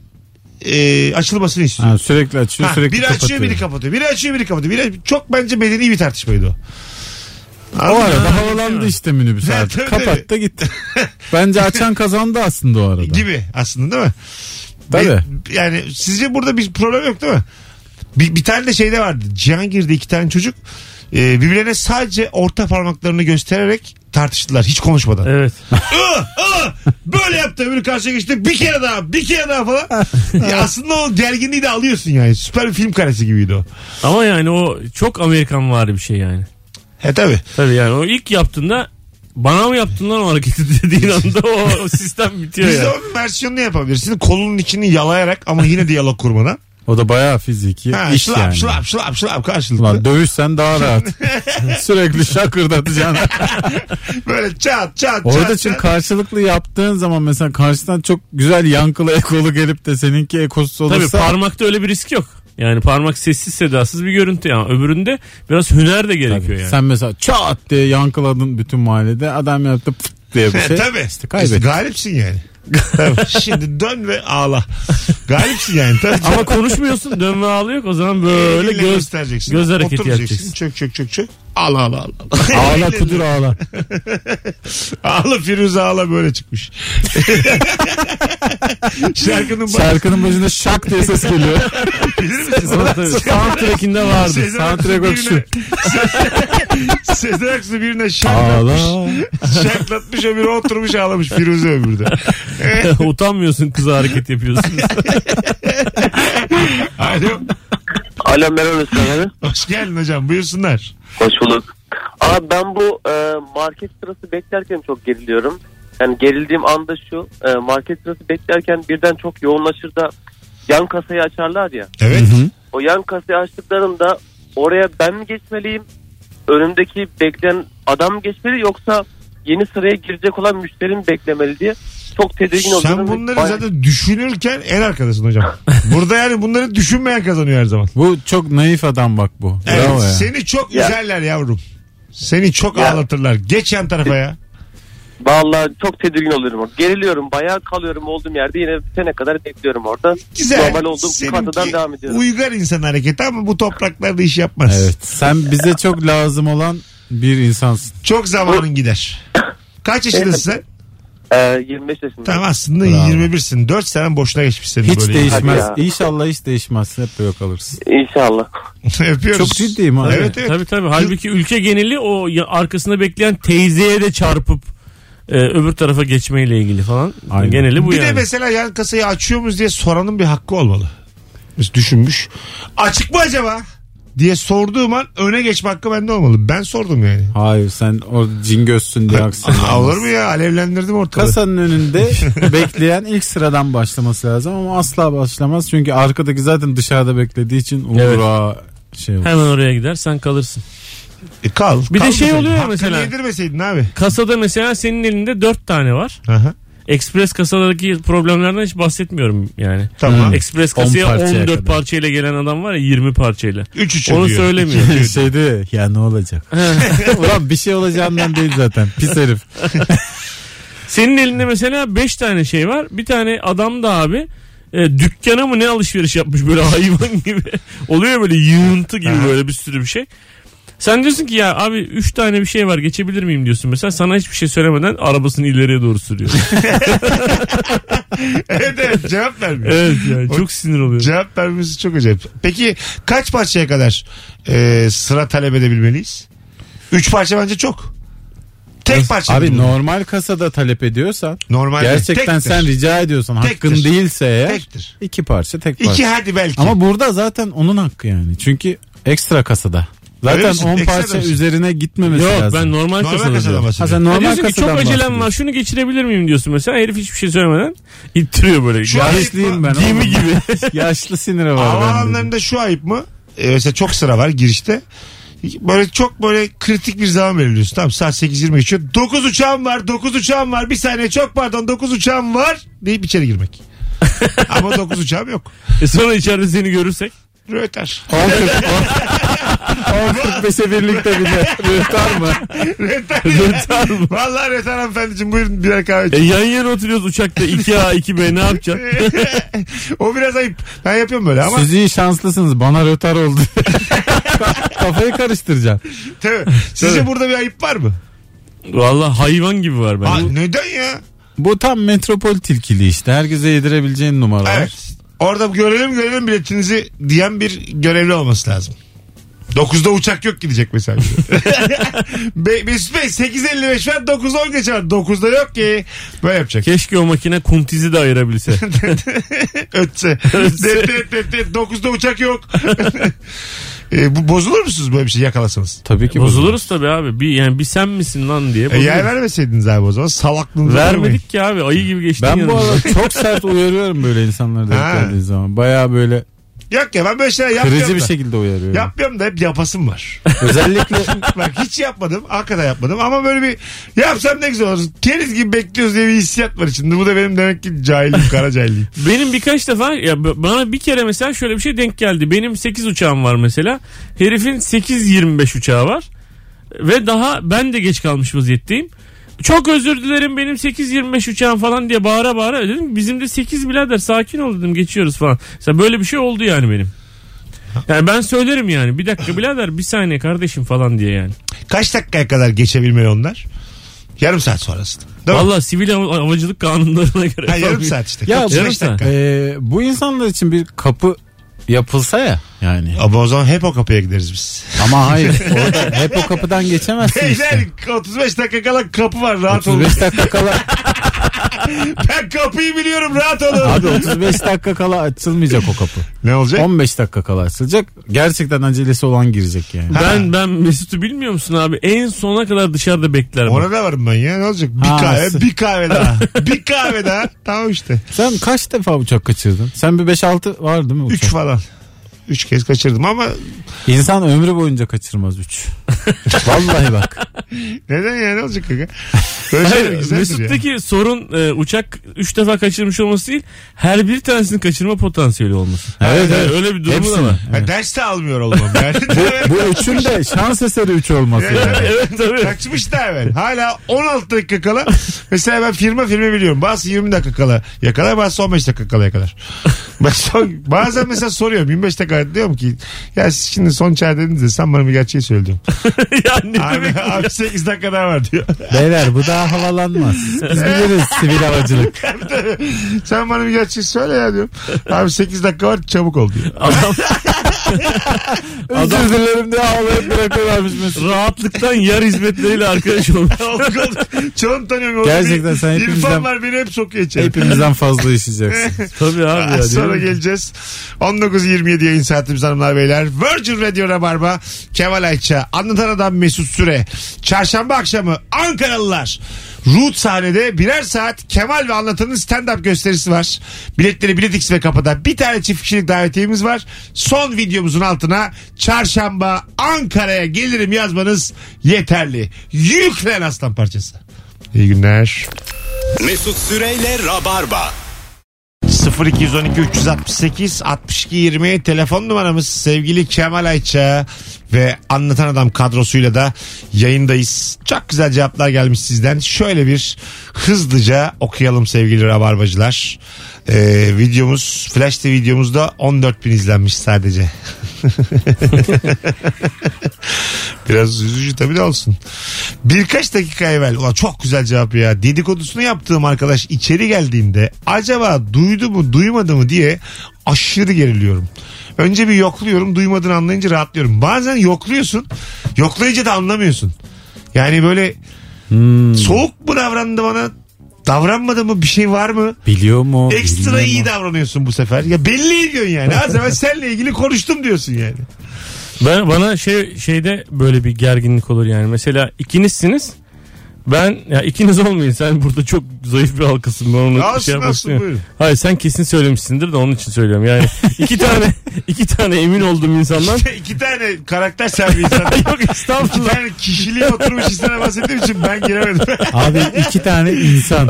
[SPEAKER 2] e, açılmasını istiyor.
[SPEAKER 4] Ha, sürekli açıyor
[SPEAKER 2] Ha,
[SPEAKER 4] sürekli
[SPEAKER 2] biri
[SPEAKER 4] kapatıyor.
[SPEAKER 2] açıyor biri kapatıyor. Biri açıyor biri kapatıyor. Biri, çok bence medeni bir tartışmaydı o.
[SPEAKER 4] O
[SPEAKER 2] Anladın mı?
[SPEAKER 4] arada havalandı işte minibüs
[SPEAKER 2] Evet,
[SPEAKER 4] artık.
[SPEAKER 2] tabii,
[SPEAKER 4] Kapattı gitti. Bence açan kazandı aslında o arada.
[SPEAKER 2] Gibi aslında değil mi?
[SPEAKER 4] Tabii.
[SPEAKER 2] Ve- yani sizce burada bir problem yok değil mi? Bir, bir tane de şeyde vardı. Cihangir'de iki tane çocuk e, birbirlerine sadece orta parmaklarını göstererek tartıştılar hiç konuşmadan.
[SPEAKER 5] Evet.
[SPEAKER 2] Ih, ih, Böyle yaptı öbürü karşıya geçti bir kere daha bir kere daha falan. Ya aslında o gerginliği de alıyorsun yani. Süper bir film karesi gibiydi o.
[SPEAKER 5] Ama yani o çok Amerikan var bir şey yani.
[SPEAKER 2] He tabi.
[SPEAKER 5] Tabii yani o ilk yaptığında bana mı yaptın lan o hareketi dediğin anda o, o sistem bitiyor
[SPEAKER 2] Biz de
[SPEAKER 5] ya.
[SPEAKER 2] onun versiyonunu yapabilirsin. Kolunun içini yalayarak ama yine diyalog kurmadan.
[SPEAKER 4] O da bayağı fiziki
[SPEAKER 2] Ha,
[SPEAKER 4] iş
[SPEAKER 2] şılap,
[SPEAKER 4] yani.
[SPEAKER 2] şılap şılap şılap karşılıklı.
[SPEAKER 4] Ulan dövüşsen daha rahat. sürekli şakırdatacaksın.
[SPEAKER 2] Böyle çat çat çat.
[SPEAKER 4] Orada için
[SPEAKER 2] çat.
[SPEAKER 4] karşılıklı yaptığın zaman mesela karşıdan çok güzel yankılı ekolu gelip de seninki ekosuz
[SPEAKER 5] Tabii
[SPEAKER 4] olursa
[SPEAKER 5] parmakta öyle bir risk yok. Yani parmak sessiz sedasız bir görüntü yani. Öbüründe biraz hüner de gerekiyor yani.
[SPEAKER 4] sen mesela çat diye yankıladın bütün mahallede adam yaptı pıt diye bir
[SPEAKER 2] He,
[SPEAKER 4] şey.
[SPEAKER 2] tabii.
[SPEAKER 4] İşte kaybettin.
[SPEAKER 2] galipsin yani. Tabii. Şimdi dön ve ağla. Galipsin yani. Tabii.
[SPEAKER 5] Ama konuşmuyorsun dönme ağlı yok o zaman böyle
[SPEAKER 2] Elinle
[SPEAKER 5] göz,
[SPEAKER 2] göstereceksin.
[SPEAKER 5] göz hareketi
[SPEAKER 2] Oturacaksın.
[SPEAKER 5] yapacaksın.
[SPEAKER 2] Çök çök çök çök. Ağla ağla ağla.
[SPEAKER 4] Ağla kudur ağla.
[SPEAKER 2] ağla Firuze ağla böyle çıkmış. Şarkının başı.
[SPEAKER 4] Şarkının başında şak diye ses geliyor.
[SPEAKER 2] Bilir misiniz?
[SPEAKER 5] Soundtrack'inde vardı.
[SPEAKER 2] Sezen Aksu
[SPEAKER 4] Soundtrack yok
[SPEAKER 2] birine- Sezen Aksu birine şarklatmış.
[SPEAKER 4] Ağla.
[SPEAKER 2] Şarklatmış öbürü oturmuş ağlamış. Firuze öbürü de.
[SPEAKER 5] Utanmıyorsun kıza hareket yapıyorsun.
[SPEAKER 2] Alo.
[SPEAKER 8] Alo merhaba Hüseyin abi.
[SPEAKER 2] Hoş geldin hocam. Buyursunlar.
[SPEAKER 8] Hoş bulduk. Abi ben bu e, market sırası beklerken çok geriliyorum. Yani gerildiğim anda şu e, market sırası beklerken birden çok yoğunlaşır da yan kasayı açarlar ya.
[SPEAKER 2] Evet.
[SPEAKER 8] O yan kasayı açtıklarında oraya ben mi geçmeliyim? Önümdeki bekleyen adam mı geçmeli yoksa yeni sıraya girecek olan müşteri mi beklemeli diye çok tedirgin oluyorum.
[SPEAKER 2] Sen bunları
[SPEAKER 8] Bayağı-
[SPEAKER 2] zaten düşünürken en arkadasın hocam. Burada yani bunları düşünmeyen kazanıyor her zaman.
[SPEAKER 4] Bu çok naif adam bak bu.
[SPEAKER 2] Evet, şey-
[SPEAKER 4] Bravo ya.
[SPEAKER 2] seni çok
[SPEAKER 8] Ya.
[SPEAKER 2] üzerler yavrum. Seni çok
[SPEAKER 8] Ya.
[SPEAKER 2] ağlatırlar. Geç yan tarafa ya.
[SPEAKER 8] Vallahi çok tedirgin oluyorum. Geriliyorum. Bayağı kalıyorum olduğum yerde. Yine bitene kadar bekliyorum orada.
[SPEAKER 2] Güzel.
[SPEAKER 8] Normal olduğum
[SPEAKER 2] Seninki
[SPEAKER 8] katadan devam ediyorum.
[SPEAKER 2] Uygar insan hareketi ama bu topraklarda iş yapmaz.
[SPEAKER 4] Evet. Sen bize çok lazım olan bir insansın.
[SPEAKER 2] Çok zamanın gider. Kaç yaşındasın sen?
[SPEAKER 8] Ee, 25 yaşındayım.
[SPEAKER 2] Tamam aslında
[SPEAKER 4] Bravo.
[SPEAKER 2] 21'sin. 4 sene boşuna geçmiş senin
[SPEAKER 4] Hiç
[SPEAKER 2] böyle.
[SPEAKER 4] değişmez.
[SPEAKER 8] Hadi ya.
[SPEAKER 4] İnşallah hiç değişmez. Hep böyle kalırsın.
[SPEAKER 8] İnşallah.
[SPEAKER 2] Öpüyoruz.
[SPEAKER 4] Çok ciddiyim abi.
[SPEAKER 2] Evet evet.
[SPEAKER 5] Tabii tabii. Halbuki ülke geneli o ya- arkasında bekleyen teyzeye de çarpıp e, öbür tarafa geçmeyle ilgili falan.
[SPEAKER 4] Aynen.
[SPEAKER 5] Geneli bu
[SPEAKER 2] bir de
[SPEAKER 5] yani.
[SPEAKER 2] mesela yan kasayı açıyor muyuz diye soranın bir hakkı olmalı. Biz düşünmüş. Açık mı acaba? diye sorduğum an öne geçme hakkı bende olmalı. Ben sordum yani.
[SPEAKER 4] Hayır sen o cingözsün diye aksın.
[SPEAKER 2] Aa, olur mu ya? Alevlendirdim ortalığı.
[SPEAKER 4] Kasanın önünde bekleyen ilk sıradan başlaması lazım ama asla başlamaz. Çünkü arkadaki zaten dışarıda beklediği için
[SPEAKER 5] Evet.
[SPEAKER 4] uğra şey olur.
[SPEAKER 5] Hemen oraya gider sen kalırsın.
[SPEAKER 2] E, kal.
[SPEAKER 5] Bir de
[SPEAKER 2] kal
[SPEAKER 5] şey
[SPEAKER 2] mesela.
[SPEAKER 5] oluyor ya
[SPEAKER 2] Hakkını
[SPEAKER 5] mesela.
[SPEAKER 2] yedirmeseydin abi.
[SPEAKER 5] Kasada mesela senin elinde dört tane var.
[SPEAKER 2] Aha.
[SPEAKER 5] Ekspres kasadaki problemlerden hiç bahsetmiyorum yani.
[SPEAKER 2] Tamam.
[SPEAKER 5] Ekspres
[SPEAKER 4] On
[SPEAKER 5] kasaya
[SPEAKER 4] parçaya
[SPEAKER 5] 14
[SPEAKER 4] kadar.
[SPEAKER 5] parçayla gelen adam var ya 20 parçayla.
[SPEAKER 2] 3 3
[SPEAKER 5] Onu söylemiyor.
[SPEAKER 4] şey diyor ya, ya ne olacak? Ulan bir şey olacağından değil zaten. Pis herif.
[SPEAKER 5] Senin elinde mesela 5 tane şey var. Bir tane adam da abi e, dükkana mı ne alışveriş yapmış böyle hayvan gibi. Oluyor ya böyle yığıntı gibi böyle bir sürü bir şey. Sen diyorsun ki ya abi 3 tane bir şey var geçebilir miyim diyorsun mesela. Sana hiçbir şey söylemeden arabasını ileriye doğru sürüyor.
[SPEAKER 2] evet, evet, cevap vermiyor.
[SPEAKER 5] evet yani çok sinir oluyor.
[SPEAKER 2] Cevap vermesi çok acayip. Peki kaç parçaya kadar e, sıra talep edebilmeliyiz? 3 parça bence çok. Tek parça.
[SPEAKER 4] Abi
[SPEAKER 2] mıdır bu?
[SPEAKER 4] normal kasada talep ediyorsan
[SPEAKER 2] Normalde.
[SPEAKER 4] gerçekten
[SPEAKER 2] Tektir.
[SPEAKER 4] sen rica ediyorsan
[SPEAKER 2] Tektir.
[SPEAKER 4] hakkın değilse eğer
[SPEAKER 2] Tektir.
[SPEAKER 4] iki parça tek parça.
[SPEAKER 2] İki şey. hadi belki.
[SPEAKER 4] Ama burada zaten onun hakkı yani. Çünkü ekstra kasada.
[SPEAKER 2] Öyle
[SPEAKER 4] Zaten
[SPEAKER 2] misin?
[SPEAKER 4] 10
[SPEAKER 2] Ekstra
[SPEAKER 4] parça
[SPEAKER 2] misin?
[SPEAKER 4] üzerine gitmemesi
[SPEAKER 5] Yok
[SPEAKER 4] lazım.
[SPEAKER 5] ben normal,
[SPEAKER 2] normal
[SPEAKER 5] kasada
[SPEAKER 2] kasada
[SPEAKER 5] diyorum.
[SPEAKER 4] Ha
[SPEAKER 2] bahsediyor.
[SPEAKER 4] sen
[SPEAKER 5] Ya
[SPEAKER 4] normal
[SPEAKER 5] diyorsun ki çok
[SPEAKER 4] kasadan
[SPEAKER 5] acelem var
[SPEAKER 4] bahsediyorsun.
[SPEAKER 5] şunu geçirebilir miyim diyorsun mesela. Herif hiçbir şey söylemeden ittiriyor böyle.
[SPEAKER 2] Şu
[SPEAKER 5] Ya-
[SPEAKER 4] Yaşlıyım ben.
[SPEAKER 5] Gemi
[SPEAKER 4] oğlum.
[SPEAKER 5] gibi.
[SPEAKER 4] Yaşlı siniri var
[SPEAKER 2] Hava
[SPEAKER 4] bende.
[SPEAKER 2] alanlarında şu ayıp mı? Ee, mesela çok sıra var girişte. Böyle çok böyle kritik bir zaman veriliyorsun. Tamam saat 8.20 geçiyor. 9 uçağım var, 9 uçağım var. Bir saniye çok pardon 9 uçağım var deyip içeri girmek. Ama 9 uçağım yok.
[SPEAKER 5] E sonra içeride seni görürsek.
[SPEAKER 2] Röter.
[SPEAKER 4] 10.45'e birlikte bile. Rühtar mı?
[SPEAKER 2] Röter.
[SPEAKER 5] Rötar mı?
[SPEAKER 2] Vallahi röter hanımefendiciğim buyurun birer kahve
[SPEAKER 5] E
[SPEAKER 2] için.
[SPEAKER 5] yan yana oturuyoruz uçakta 2A 2B ne yapacaksın?
[SPEAKER 2] o biraz ayıp. Ben yapıyorum böyle ama.
[SPEAKER 4] Siz iyi şanslısınız. Bana rötar oldu. Kafayı karıştıracağım.
[SPEAKER 2] Tabii. Sizce burada bir ayıp var mı?
[SPEAKER 5] Valla hayvan gibi var
[SPEAKER 2] Aa,
[SPEAKER 5] bende.
[SPEAKER 2] neden ya?
[SPEAKER 4] Bu tam metropol tilkili işte. Herkese yedirebileceğin numaralar.
[SPEAKER 2] Evet. Orada görelim görelim biletinizi diyen bir görevli olması lazım. 9'da uçak yok gidecek mesela. Be Mesut Bey 8.55 var 9.10 geçer. 9'da yok ki. Böyle yapacak.
[SPEAKER 5] Keşke o makine kuntizi de ayırabilse.
[SPEAKER 2] Ötse. Det, det, det, det. 9'da uçak yok. e, bu, bozulur musunuz böyle bir şey yakalasanız?
[SPEAKER 4] Tabii ki bozulur.
[SPEAKER 5] Bozuluruz tabii abi. Bir, yani bir sen misin lan diye.
[SPEAKER 2] E, yer
[SPEAKER 5] bozuluruz.
[SPEAKER 2] vermeseydiniz abi o zaman salaklığınızı vermeyin.
[SPEAKER 5] Vermedik ki abi. Ayı gibi geçtin
[SPEAKER 4] Ben bu
[SPEAKER 5] yanımızdan.
[SPEAKER 4] arada çok sert uyarıyorum böyle insanları
[SPEAKER 2] Ha.
[SPEAKER 4] denk geldiği zaman. Baya böyle
[SPEAKER 2] Yok ya ben böyle şeyler yapmıyorum
[SPEAKER 4] kırıcı bir
[SPEAKER 2] da.
[SPEAKER 4] şekilde uyarıyorum.
[SPEAKER 2] Yapmıyorum da hep yapasım var.
[SPEAKER 4] Özellikle
[SPEAKER 2] Bak hiç yapmadım. Hakikaten yapmadım. Ama böyle bir yapsam ne güzel olur. Keriz gibi bekliyoruz diye bir hissiyat var içinde. Bu da benim demek ki cahilim, kara cahilliğim.
[SPEAKER 5] Benim birkaç defa ya b- bana bir kere mesela şöyle bir şey denk geldi. Benim 8 uçağım var mesela. Herifin 8.25 uçağı var. Ve daha ben de geç kalmış vaziyetteyim. Çok özür dilerim benim 8.25 uçağım falan diye bağıra bağıra dedim. ki, Bizim de 8 birader sakin ol dedim geçiyoruz falan. Mesela böyle bir şey oldu yani benim. Yani ben söylerim yani bir dakika birader bir saniye kardeşim falan diye yani.
[SPEAKER 2] Kaç dakikaya kadar geçebilmeli onlar? Yarım saat sonrasında. Değil mi?
[SPEAKER 5] Valla sivil hav- havacılık kanunlarına göre.
[SPEAKER 2] Ha, yarım saat işte.
[SPEAKER 4] Ya,
[SPEAKER 2] 45
[SPEAKER 5] yarım saat.
[SPEAKER 2] dakika.
[SPEAKER 4] e, bu insanlar için bir kapı yapılsa ya yani.
[SPEAKER 2] Ama o zaman hep o kapıya gideriz biz.
[SPEAKER 4] Ama hayır orada hep o kapıdan geçemezsin
[SPEAKER 2] Beyler
[SPEAKER 4] işte.
[SPEAKER 2] 35 dakika kala kapı var rahat olun.
[SPEAKER 4] 35 dakika kala
[SPEAKER 2] Ben kapıyı biliyorum rahat olun.
[SPEAKER 4] abi 35 dakika kala açılmayacak o kapı.
[SPEAKER 2] Ne olacak?
[SPEAKER 4] 15 dakika kala açılacak. Gerçekten acelesi olan girecek yani.
[SPEAKER 5] Ben ben Mesut'u bilmiyor musun abi? En sona kadar dışarıda beklerim.
[SPEAKER 2] Orada varım ben ya ne olacak? Bir
[SPEAKER 4] Ha,
[SPEAKER 2] kahve,
[SPEAKER 4] s-
[SPEAKER 2] bir kahve daha. bir kahve daha. Tamam işte.
[SPEAKER 4] Sen kaç defa uçak kaçırdın? Sen bir 5-6 var değil mi uçak?
[SPEAKER 2] 3 falan. 3 kez kaçırdım ama
[SPEAKER 4] İnsan ömrü boyunca kaçırmaz 3. Vallahi bak.
[SPEAKER 2] Neden ya ne olacak kanka? Böyle şeyler
[SPEAKER 5] Hayır,
[SPEAKER 2] güzeldir ya.
[SPEAKER 5] Şey, Mesut'taki sorun e, uçak 3 defa kaçırmış olması değil. Her bir tanesini kaçırma potansiyeli olması.
[SPEAKER 4] Evet
[SPEAKER 5] Yani
[SPEAKER 4] evet.
[SPEAKER 5] Öyle bir durumu da
[SPEAKER 4] Hepsini.
[SPEAKER 5] var.
[SPEAKER 2] Ha, ders de almıyor olmam yani.
[SPEAKER 4] Bu üçün de şans eseri 3 olması. yani.
[SPEAKER 5] evet tabii.
[SPEAKER 2] Kaçmış da evvel. Hala 16 dakika kala. Mesela ben firma firma biliyorum. Bazısı 20 dakika kala yakalar. Bazısı 15 dakika kala yakalar. Ben son- bazen mesela soruyorum. 25 dakika diyorum ki ya siz şimdi son çare dediniz de sen bana bir gerçeği söyledin.
[SPEAKER 5] ya ne demek?
[SPEAKER 2] Abi, abi 8 dakika daha var diyor.
[SPEAKER 4] Beyler bu daha havalanmaz. Biz biliriz sivil havacılık.
[SPEAKER 2] sen bana bir gerçeği söyle ya diyorum. Abi 8 dakika var çabuk ol diyor.
[SPEAKER 5] Adam
[SPEAKER 4] Özür dilerim diye havalayıp bırakıyorlarmış mesela.
[SPEAKER 5] rahatlıktan yer hizmetleriyle arkadaş olmuş.
[SPEAKER 2] Olduk, olduk. Çoğunu tanıyorum.
[SPEAKER 4] Gerçekten sen
[SPEAKER 2] hepimizden... İrfan
[SPEAKER 4] hepimizden-
[SPEAKER 2] var beni hep sokuyor içeri.
[SPEAKER 4] Hepimizden fazla işleyeceksin.
[SPEAKER 5] tabii abi ya.
[SPEAKER 2] Az sonra
[SPEAKER 5] değil mi?
[SPEAKER 2] geleceğiz. 19.27 yayın saatimiz hanımlar beyler. Virgin Radio Rabarba, Kemal Ayça, Anlatan Adam Mesut Süre. Çarşamba akşamı Ankaralılar. Root sahnede birer saat Kemal ve Anlatan'ın stand-up gösterisi var. Biletleri Biletix ve kapıda bir tane çift kişilik davetiyemiz var. Son videomuzun altına çarşamba Ankara'ya gelirim yazmanız yeterli. Yüklen aslan parçası. İyi günler.
[SPEAKER 1] Mesut Süreyle Rabarba.
[SPEAKER 2] 0212 368 62 20 telefon numaramız sevgili Kemal Ayça ve Anlatan Adam kadrosuyla da yayındayız. Çok güzel cevaplar gelmiş sizden. Şöyle bir hızlıca okuyalım sevgili rabarbacılar. Ee, videomuz Flash TV videomuzda 14 bin izlenmiş sadece. Biraz üzücü tabii de olsun. Birkaç dakika evvel ulan çok güzel cevap ya. Dedikodusunu yaptığım arkadaş içeri geldiğinde acaba duydu mu duymadı mı diye aşırı geriliyorum. Önce bir yokluyorum duymadığını anlayınca rahatlıyorum. Bazen yokluyorsun yoklayınca da anlamıyorsun. Yani böyle
[SPEAKER 5] Hmm.
[SPEAKER 2] Soğuk mu davrandı bana? Davranmadı mı? Bir şey var mı?
[SPEAKER 4] Biliyor mu?
[SPEAKER 2] Ekstra
[SPEAKER 4] Bilmiyor
[SPEAKER 2] iyi
[SPEAKER 4] mu?
[SPEAKER 2] davranıyorsun bu sefer. Ya belli ediyorsun yani. Az evvel seninle ilgili konuştum diyorsun yani.
[SPEAKER 5] Ben bana şey şeyde böyle bir gerginlik olur yani. Mesela ikinizsiniz. Ben ya ikiniz olmayın sen burada çok zayıf bir halkasın. Ben onu
[SPEAKER 2] Alsın,
[SPEAKER 5] şey yapmak
[SPEAKER 2] alsın,
[SPEAKER 5] istemiyorum.
[SPEAKER 2] buyurun.
[SPEAKER 5] Hayır sen kesin söylemişsindir de onun için söylüyorum. Yani iki tane iki tane emin olduğum insandan.
[SPEAKER 2] İşte iki tane karakter sahibi insan.
[SPEAKER 5] Yok
[SPEAKER 2] iki
[SPEAKER 5] estağfurullah.
[SPEAKER 2] tane kişiliği oturmuş insana bahsettiğim için ben giremedim.
[SPEAKER 4] Abi iki tane insan.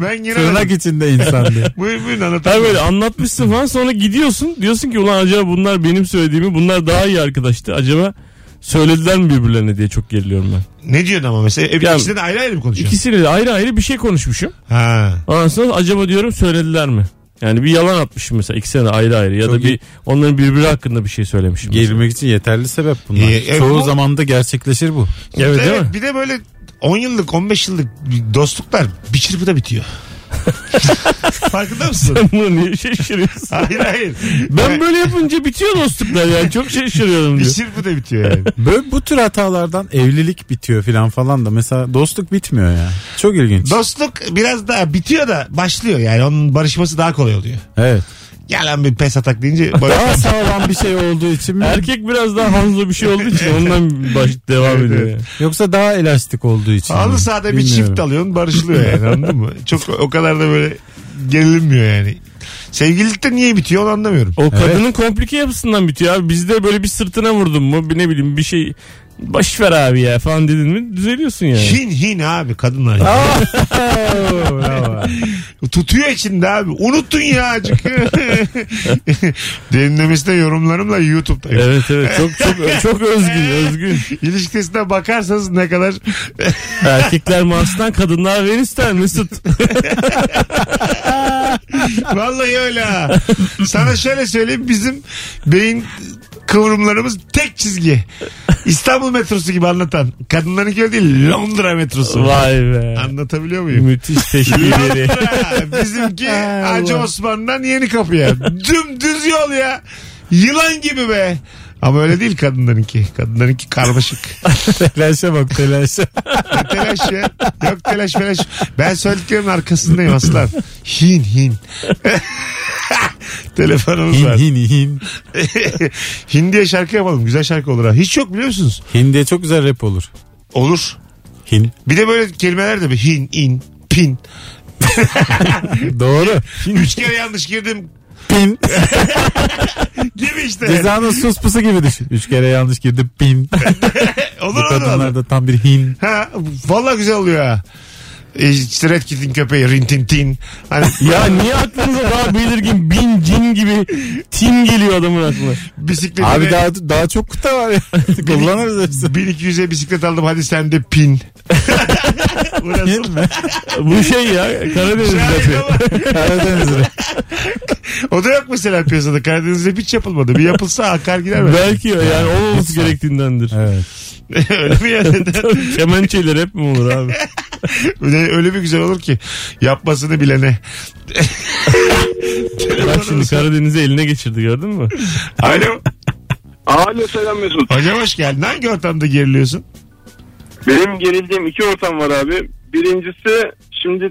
[SPEAKER 2] ben
[SPEAKER 4] Tırnak
[SPEAKER 2] giremedim.
[SPEAKER 4] içinde insan diye.
[SPEAKER 2] Buyurun buyurun
[SPEAKER 5] Ha
[SPEAKER 2] anlatayım.
[SPEAKER 5] böyle anlatmışsın falan sonra gidiyorsun. Diyorsun ki ulan acaba bunlar benim söylediğimi bunlar daha iyi arkadaştı. Acaba söylediler mi birbirlerine diye çok geriliyorum ben.
[SPEAKER 2] Ne diyorsun ama mesela? E,
[SPEAKER 5] Ya-
[SPEAKER 2] ikisini de ayrı ayrı mı konuşuyorsun?
[SPEAKER 5] İkisiyle de ayrı ayrı bir şey konuşmuşum.
[SPEAKER 2] Ha.
[SPEAKER 5] Ondan sonra acaba diyorum söylediler mi? Yani bir yalan atmışım mesela ikisine de ayrı ayrı ya
[SPEAKER 4] Çok
[SPEAKER 5] da bir onların birbiri hakkında bir şey söylemişim. mesela.
[SPEAKER 4] Gerilmek için yeterli sebep bunlar.
[SPEAKER 2] İyi, evet,
[SPEAKER 5] E,
[SPEAKER 4] Çoğu
[SPEAKER 2] bu-
[SPEAKER 4] zaman da gerçekleşir bu.
[SPEAKER 5] Evet,
[SPEAKER 2] Evet,
[SPEAKER 5] değil mi?
[SPEAKER 2] bir de böyle 10 yıllık 15 yıllık dostluklar bir çırpıda bitiyor. Farkında mısın?
[SPEAKER 5] Bunu niye şaşırıyorsun?
[SPEAKER 2] hayır hayır.
[SPEAKER 5] ben böyle yapınca bitiyor dostluklar yani çok şaşırıyorum
[SPEAKER 2] bir şey-
[SPEAKER 5] diyor.
[SPEAKER 2] çırpıda bitiyor yani.
[SPEAKER 4] Böyle bu tür hatalardan evlilik bitiyor filan falan da mesela dostluk bitmiyor ya. Çok ilginç.
[SPEAKER 2] Dostluk biraz daha bitiyor da başlıyor yani onun barışması daha kolay oluyor.
[SPEAKER 4] evet.
[SPEAKER 2] Ya lan bir pes atak deyince barış-
[SPEAKER 4] Daha sağlam bir şey olduğu için mi?
[SPEAKER 5] Erkek biraz daha Hanzo bir şey olduğu için ondan baş
[SPEAKER 4] şey
[SPEAKER 5] devam
[SPEAKER 2] Evet,
[SPEAKER 5] ediyor.
[SPEAKER 2] evet.
[SPEAKER 5] yani.
[SPEAKER 4] Yoksa daha elastik olduğu için. mi?
[SPEAKER 5] Hmm,
[SPEAKER 2] Halı sahada bir
[SPEAKER 4] Bilmiyorum.
[SPEAKER 2] çift alıyorsun barışılıyor yani anladın mı? Çok o kadar da böyle gerilinmiyor yani. Sevgililikte niye bitiyor onu anlamıyorum.
[SPEAKER 5] O kadının komplike yapısından bitiyor abi. Bizde böyle bir sırtına vurdun mu bir ne bileyim bir şey baş ver abi ya falan dedin mi düzeliyorsun yani.
[SPEAKER 2] Hin hin abi kadınlar. ya.
[SPEAKER 4] Bravo.
[SPEAKER 2] Tutuyor içinde abi. Unuttun ya acık. Derinlemesine yorumlarımla YouTube'dayım.
[SPEAKER 5] Evet evet çok çok çok özgün özgün.
[SPEAKER 2] İlişkisine bakarsanız ne kadar
[SPEAKER 5] Erkekler Mars'tan kadınlar Venüs'ten Mesut.
[SPEAKER 2] vallahi öyle ha. Sana şöyle söyleyeyim bizim beyin kıvrımlarımız tek çizgi. İstanbul metrosu gibi anlatan. Kadınlarınki öyle değil Londra metrosu.
[SPEAKER 5] Vay be.
[SPEAKER 2] Anlatabiliyor muyum?
[SPEAKER 5] Müthiş teşkileri.
[SPEAKER 2] Londra. Bizimki Hacı Osman'dan yeni kapıya. Dümdüz yol ya. Yılan gibi be. Ama öyle değil kadınlarınki. Kadınlarınki karmaşık.
[SPEAKER 4] telaşa bak telaşa.
[SPEAKER 2] Ne telaş ya. Yok telaş telaş. Ben söylediklerimin arkasındayım aslan. Hin hin. Telefonumuz
[SPEAKER 4] Hin
[SPEAKER 2] var.
[SPEAKER 4] hin hin.
[SPEAKER 2] Hin diye şarkı yapalım. Güzel şarkı olur ha. Hiç yok biliyor musunuz?
[SPEAKER 4] Hin diye çok güzel rap olur.
[SPEAKER 2] Olur.
[SPEAKER 4] Hin.
[SPEAKER 2] Bir de böyle kelimeler de bir hin, in, pin.
[SPEAKER 4] Doğru.
[SPEAKER 2] Üç kere yanlış girdim
[SPEAKER 4] Pin.
[SPEAKER 2] gibi işte.
[SPEAKER 4] Cezanın suspusu gibi düşün. Üç kere yanlış girdi pin.
[SPEAKER 2] olur
[SPEAKER 4] Bu
[SPEAKER 2] olur. olur.
[SPEAKER 4] kadınlar da tam bir hin.
[SPEAKER 2] Ha, valla güzel oluyor ha. E, İşte Red Kit'in köpeği Rintintin. Hani
[SPEAKER 5] ya niye aklınıza daha belirgin bin cin gibi tin geliyor adamın aklına.
[SPEAKER 2] bisikletine
[SPEAKER 4] Abi daha daha çok kıta var ya. Kullanırız hepsini.
[SPEAKER 2] 1200'e bisiklet aldım hadi sen de pin. Burası
[SPEAKER 4] Hin mi?
[SPEAKER 5] Bu şey ya Karadeniz
[SPEAKER 2] Şahin
[SPEAKER 5] rapi.
[SPEAKER 2] ama
[SPEAKER 4] Karadeniz rapi.
[SPEAKER 2] o da yok mesela piyasada. Karadeniz'de hiç yapılmadı. Bir yapılsa akar gider mi?
[SPEAKER 5] Belki o yani o olması gerektiğindendir.
[SPEAKER 4] Evet.
[SPEAKER 2] öyle mi ya?
[SPEAKER 5] Kemençeler hep mi olur abi?
[SPEAKER 2] öyle, öyle bir güzel olur ki. Yapmasını bilene.
[SPEAKER 5] Bak şimdi Karadeniz'i eline geçirdi gördün mü?
[SPEAKER 2] Alo.
[SPEAKER 3] Alo selam Mesut.
[SPEAKER 2] Hocam hoş geldin. Hangi ortamda geriliyorsun?
[SPEAKER 3] Benim gerildiğim iki ortam var abi. Birincisi şimdi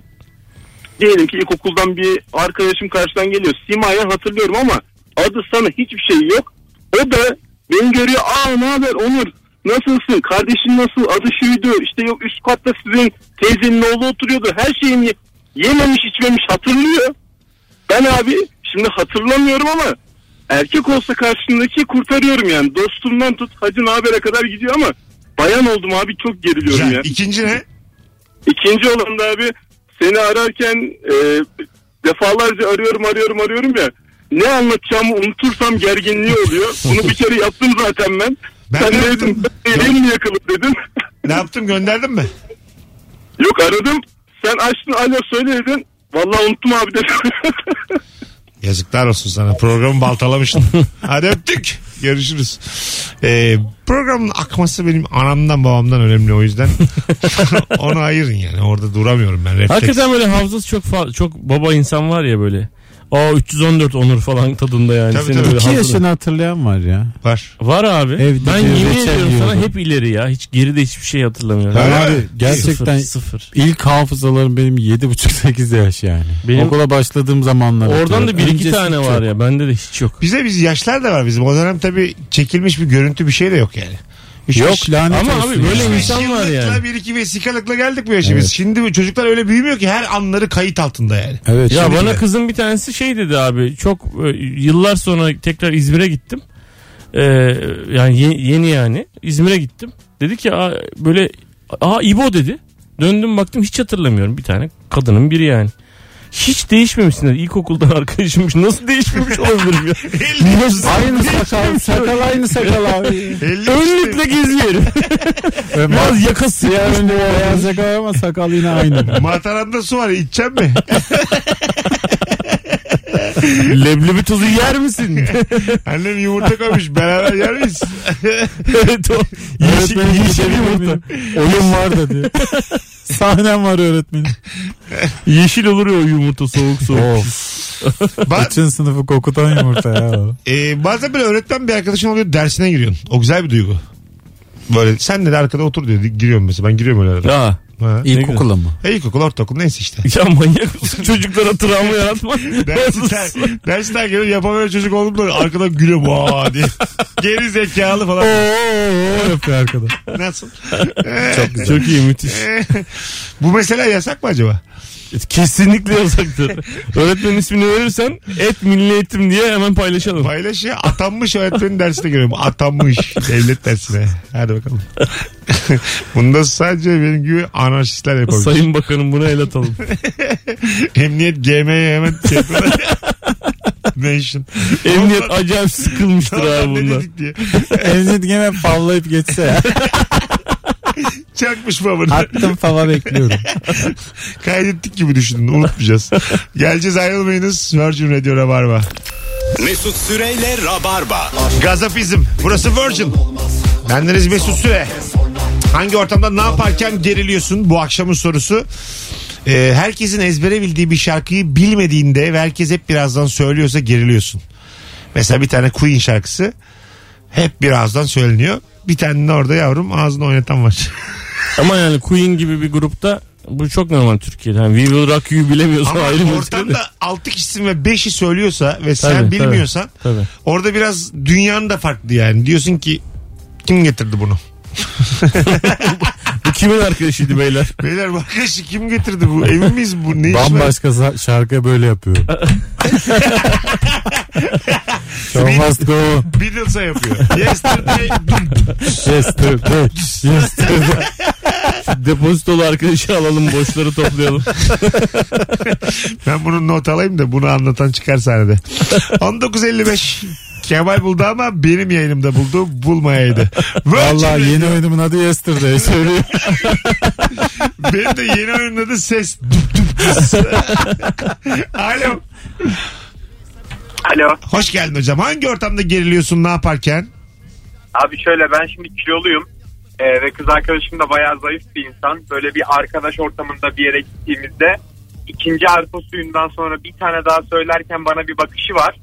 [SPEAKER 3] diyelim ki ilkokuldan bir arkadaşım karşıdan geliyor. Sima'yı hatırlıyorum ama adı sana hiçbir şey yok. O da beni görüyor. Aa ne haber Onur? Nasılsın? Kardeşin nasıl? Adı şuydu. İşte yok üst katta sizin teyzenin oğlu oturuyordu. Her şeyini ye- yememiş içmemiş hatırlıyor. Ben abi şimdi hatırlamıyorum ama erkek olsa karşımdaki kurtarıyorum yani. Dostumdan tut hacı habere kadar gidiyor ama bayan oldum abi çok geriliyorum
[SPEAKER 2] Güzel.
[SPEAKER 3] ya.
[SPEAKER 2] İkinci ne?
[SPEAKER 3] İkinci olan da abi seni ararken e, defalarca arıyorum arıyorum arıyorum ya. Ne anlatacağımı unutursam gerginliği oluyor. Bunu bir kere yaptım zaten ben.
[SPEAKER 2] Ben
[SPEAKER 3] Sen
[SPEAKER 2] de
[SPEAKER 3] ne
[SPEAKER 2] yaptım.
[SPEAKER 3] dedin? Elim mi yakılır dedim.
[SPEAKER 2] Ne yaptım gönderdin mi?
[SPEAKER 3] Yok aradım. Sen açtın alo söyle dedin. Vallahi unuttum abi dedim.
[SPEAKER 2] Yazıklar olsun sana. Programı baltalamıştım. Hadi öptük. Görüşürüz. Ee, programın akması benim anamdan babamdan önemli o yüzden. Onu ayırın yani. Orada duramıyorum ben. Refleks.
[SPEAKER 5] Hakikaten böyle hafızası çok fa- çok baba insan var ya böyle. Aa 314 Onur falan tadında yani.
[SPEAKER 2] Tabii,
[SPEAKER 5] Seni
[SPEAKER 2] tabii.
[SPEAKER 5] böyle
[SPEAKER 4] İki
[SPEAKER 5] hazırla-
[SPEAKER 4] yaşını hatırlayan var ya.
[SPEAKER 2] Var.
[SPEAKER 5] Var abi.
[SPEAKER 4] Evde
[SPEAKER 5] ben
[SPEAKER 4] bir
[SPEAKER 5] yemin
[SPEAKER 4] reçel
[SPEAKER 5] ediyorum sana
[SPEAKER 4] yiyordu.
[SPEAKER 5] hep ileri ya. Hiç geride hiçbir şey hatırlamıyorum.
[SPEAKER 2] Ben-
[SPEAKER 4] Ben
[SPEAKER 2] Öyle
[SPEAKER 4] abi
[SPEAKER 2] mi?
[SPEAKER 4] gerçekten
[SPEAKER 5] Sıfır, sıfır.
[SPEAKER 4] ilk hafızalarım benim 7,5-8 yaş yani.
[SPEAKER 5] Benim-
[SPEAKER 4] Okula başladığım zamanlar.
[SPEAKER 5] Oradan
[SPEAKER 4] hatırlıyorum.
[SPEAKER 5] da bir iki
[SPEAKER 4] Öncesi
[SPEAKER 5] tane
[SPEAKER 4] çok.
[SPEAKER 5] var ya. Bende de hiç yok.
[SPEAKER 2] Bize biz yaşlar da var bizim. O dönem tabii çekilmiş bir görüntü bir şey de yok yani. Üç beş-
[SPEAKER 4] Yok lanet
[SPEAKER 5] Ama
[SPEAKER 4] olsun
[SPEAKER 5] abi
[SPEAKER 4] ya.
[SPEAKER 5] böyle
[SPEAKER 2] Beş
[SPEAKER 5] insan var
[SPEAKER 2] yıllıkla,
[SPEAKER 5] yani.
[SPEAKER 2] Bir iki vesikalıkla geldik bu yaşa biz. Şimdi bu çocuklar öyle büyümüyor ki her anları kayıt altında yani.
[SPEAKER 4] Evet.
[SPEAKER 5] Ya
[SPEAKER 4] şimdi-
[SPEAKER 5] bana kızın bir tanesi şey dedi abi. Çok e, yıllar sonra tekrar İzmir'e gittim. Ee, yani ye- yeni yani. İzmir'e gittim. Dedi ki "Aa, böyle aa İbo dedi. Döndüm baktım hiç hatırlamıyorum. Bir tane kadının biri yani. Hiç değişmemişsin dedi. İlkokuldan arkadaşımmış. Nasıl değişmemiş olabilirim ya?
[SPEAKER 2] 50
[SPEAKER 4] Aynı sakal. Sakal aynı sakal abi.
[SPEAKER 2] 50
[SPEAKER 5] Önlükle geziyorum. Biraz yakası
[SPEAKER 4] Siyah önlü beyaz sakal ama sakal yine aynı.
[SPEAKER 2] Mataranda su var içeceğim mi?
[SPEAKER 5] Leblebi tuzu yer misin?
[SPEAKER 2] Annem yumurta koymuş beraber yer miyiz?
[SPEAKER 5] evet o. Yeşil,
[SPEAKER 4] Öğretmenim
[SPEAKER 5] yeşil yumurta.
[SPEAKER 4] Oyun var da diyor. Sahnem var öğretmenim.
[SPEAKER 5] Yeşil olur ya o yumurta soğuk soğuk.
[SPEAKER 4] Of.
[SPEAKER 2] Ba-
[SPEAKER 4] Bütün sınıfı kokutan yumurta ya. o.
[SPEAKER 2] e, bazen böyle öğretmen bir arkadaşın oluyor dersine giriyorsun. O güzel bir duygu. Böyle sen de arkada otur diyor. Giriyorum mesela ben giriyorum öyle arada.
[SPEAKER 5] Ya.
[SPEAKER 2] Ha.
[SPEAKER 4] İlkokula mı?
[SPEAKER 2] E, İlkokul, ortaokul neyse işte.
[SPEAKER 5] Ya manyak mısın? Çocuklara travma yaratma.
[SPEAKER 2] Dersinden, dersinden geliyor yapamayan çocuk oldum da arkada gülüyor vaa diye. Geri zekalı falan.
[SPEAKER 4] Oo yapıyor arkada.
[SPEAKER 2] Nasıl?
[SPEAKER 5] Çok güzel. Çok iyi müthiş.
[SPEAKER 2] Bu mesela yasak mı acaba?
[SPEAKER 5] Kesinlikle yasaktır. Öğretmenin ismini verirsen et milli eğitim diye hemen paylaşalım.
[SPEAKER 2] Paylaş ya atanmış öğretmenin dersine giriyorum. Atanmış devlet dersine. Hadi bakalım. Bunda sadece benim gibi anarşistler yapabilir.
[SPEAKER 5] Sayın Bakanım buna el atalım.
[SPEAKER 2] Emniyet GM'ye hemen şey yapıyorlar. Mention.
[SPEAKER 5] Emniyet acayip sıkılmıştır
[SPEAKER 2] Ulan
[SPEAKER 5] abi
[SPEAKER 2] ne
[SPEAKER 5] bundan.
[SPEAKER 2] dedik diye.
[SPEAKER 4] Emniyet gene favlayıp geçse ya.
[SPEAKER 2] Çakmış babanı.
[SPEAKER 4] Attım fava bekliyorum.
[SPEAKER 2] Kaydettik gibi düşündün. Unutmayacağız. Geleceğiz ayrılmayınız. Virgin Radio Rabarba.
[SPEAKER 1] Mesut Süreyle Rabarba.
[SPEAKER 2] Gazapizm. Burası Virgin. Bendeniz Mesut Süre. Hangi ortamda ne yaparken geriliyorsun bu akşamın sorusu. Ee, herkesin ezbere bildiği bir şarkıyı bilmediğinde ve herkes hep birazdan söylüyorsa geriliyorsun. Mesela bir tane Queen şarkısı hep birazdan söyleniyor. Bir tane de orada yavrum ağzını oynatan var.
[SPEAKER 5] Ama yani Queen gibi bir grupta bu çok normal Türkiye'de. Yani We Will Rock You bilemiyorsan
[SPEAKER 2] Ama
[SPEAKER 5] ayrı mesele de.
[SPEAKER 2] ortamda 6 kişisin ve 5'i söylüyorsa ve sen
[SPEAKER 5] Tabii, tabii.
[SPEAKER 2] bilmiyorsan
[SPEAKER 5] Tabii.
[SPEAKER 2] orada biraz dünyanın da farklı yani. Diyorsun ki kim getirdi bunu?
[SPEAKER 5] Bu kimin arkadaşıydı beyler?
[SPEAKER 2] Beyler bu arkadaşı kim getirdi bu? Emin miyiz bu? Ne iş var?
[SPEAKER 4] Bambaşka sa- şarkı böyle yapıyor. Show must go.
[SPEAKER 2] Beatles'a yapıyor. Yesterday.
[SPEAKER 4] Yesterday. Yesterday.
[SPEAKER 5] Depozitolu arkadaşı alalım boşları toplayalım.
[SPEAKER 2] ben bunun not alayım da bunu anlatan çıkar sahnede. 1955. Kemal buldu ama benim yayınımda buldu. Bulmayaydı. Valla
[SPEAKER 4] Vallahi yeni oyunumun adı Yesterday. Söylüyor.
[SPEAKER 2] Benim de yeni oyunun adı ses. Alo.
[SPEAKER 6] Alo.
[SPEAKER 2] Hoş geldin hocam. Hangi ortamda geriliyorsun ne yaparken?
[SPEAKER 6] Abi şöyle ben şimdi kiloluyum Ee, ve kız arkadaşım da bayağı zayıf bir insan. Böyle bir arkadaş ortamında bir yere gittiğimizde ikinci arpa suyundan sonra bir tane daha söylerken bana bir bakışı var.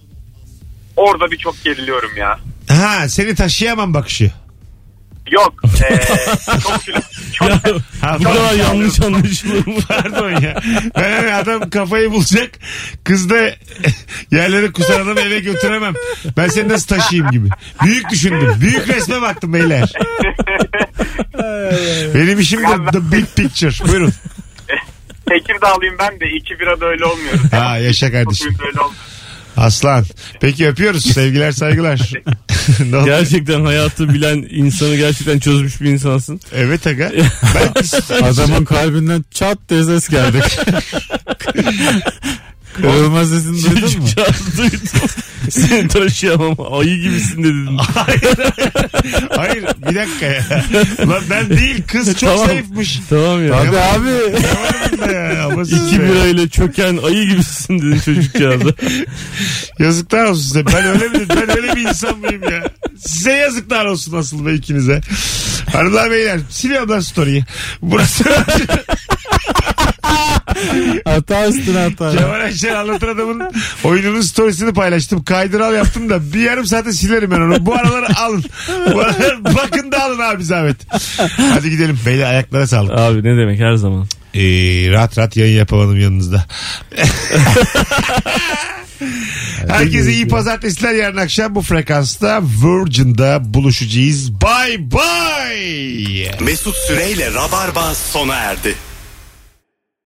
[SPEAKER 6] Orada bir çok geriliyorum ya.
[SPEAKER 2] Ha seni taşıyamam bakışı.
[SPEAKER 6] Yok. ee, çok kilo. Çok,
[SPEAKER 5] Ya,
[SPEAKER 2] Ha,
[SPEAKER 5] bu kadar yanlış anlaşılır mı?
[SPEAKER 2] Pardon ya. Ben hani adam kafayı bulacak. Kız da yerlere kusan adamı eve götüremem. Ben seni nasıl taşıyayım gibi. Büyük düşündüm. Büyük resme baktım beyler. Benim işim de the big picture. Buyurun.
[SPEAKER 6] Tekirdağlıyım ben de. iki bira da öyle olmuyor.
[SPEAKER 2] Ha yaşa kardeşim.
[SPEAKER 6] Böyle olmuyor.
[SPEAKER 2] Aslan. Peki öpüyoruz. Sevgiler saygılar. Ne oldu?
[SPEAKER 5] Gerçekten hayatı bilen insanı gerçekten çözmüş bir insansın.
[SPEAKER 2] evet aga. Ben
[SPEAKER 4] Adamın kalbinden çat diye ses geldi. Kırılma sesini duydun mu?
[SPEAKER 5] Çocukcağız duydum. Seni taşıyamam. Ayı gibisin de dedim.
[SPEAKER 2] Hayır bir dakika ya. Lan ben değil kız çok
[SPEAKER 5] Tamam.
[SPEAKER 2] zayıfmış.
[SPEAKER 5] tamam ya.
[SPEAKER 4] Abi abi.
[SPEAKER 2] Ne ya, ama siz
[SPEAKER 5] İki
[SPEAKER 2] de-
[SPEAKER 5] birayla çöken ayı gibisin dedim çocukcağıza.
[SPEAKER 2] Yazıklar olsun size. Ben öyle mi ben öyle bir insan mıyım ya? Size yazıklar olsun asıl be ikinize. Hanımlar beyler siliyorum lan story'i. Burası
[SPEAKER 4] Hata üstüne hata.
[SPEAKER 2] Kemal Ayşe anlatır adamın oyununun storiesini paylaştım. Kaydıral yaptım da bir yarım saate silerim ben onu. Bu araları alın. Bu araları bakın da alın abi zahmet. Hadi gidelim. Beyler ayaklara sağlık.
[SPEAKER 5] Abi ne demek her zaman.
[SPEAKER 2] Ee, rahat rahat yayın yapamadım yanınızda. Herkese iyi pazartesiler yarın akşam bu frekansta Virgin'da buluşacağız. Bye bye.
[SPEAKER 1] Mesut Süreyle Rabarba sona erdi.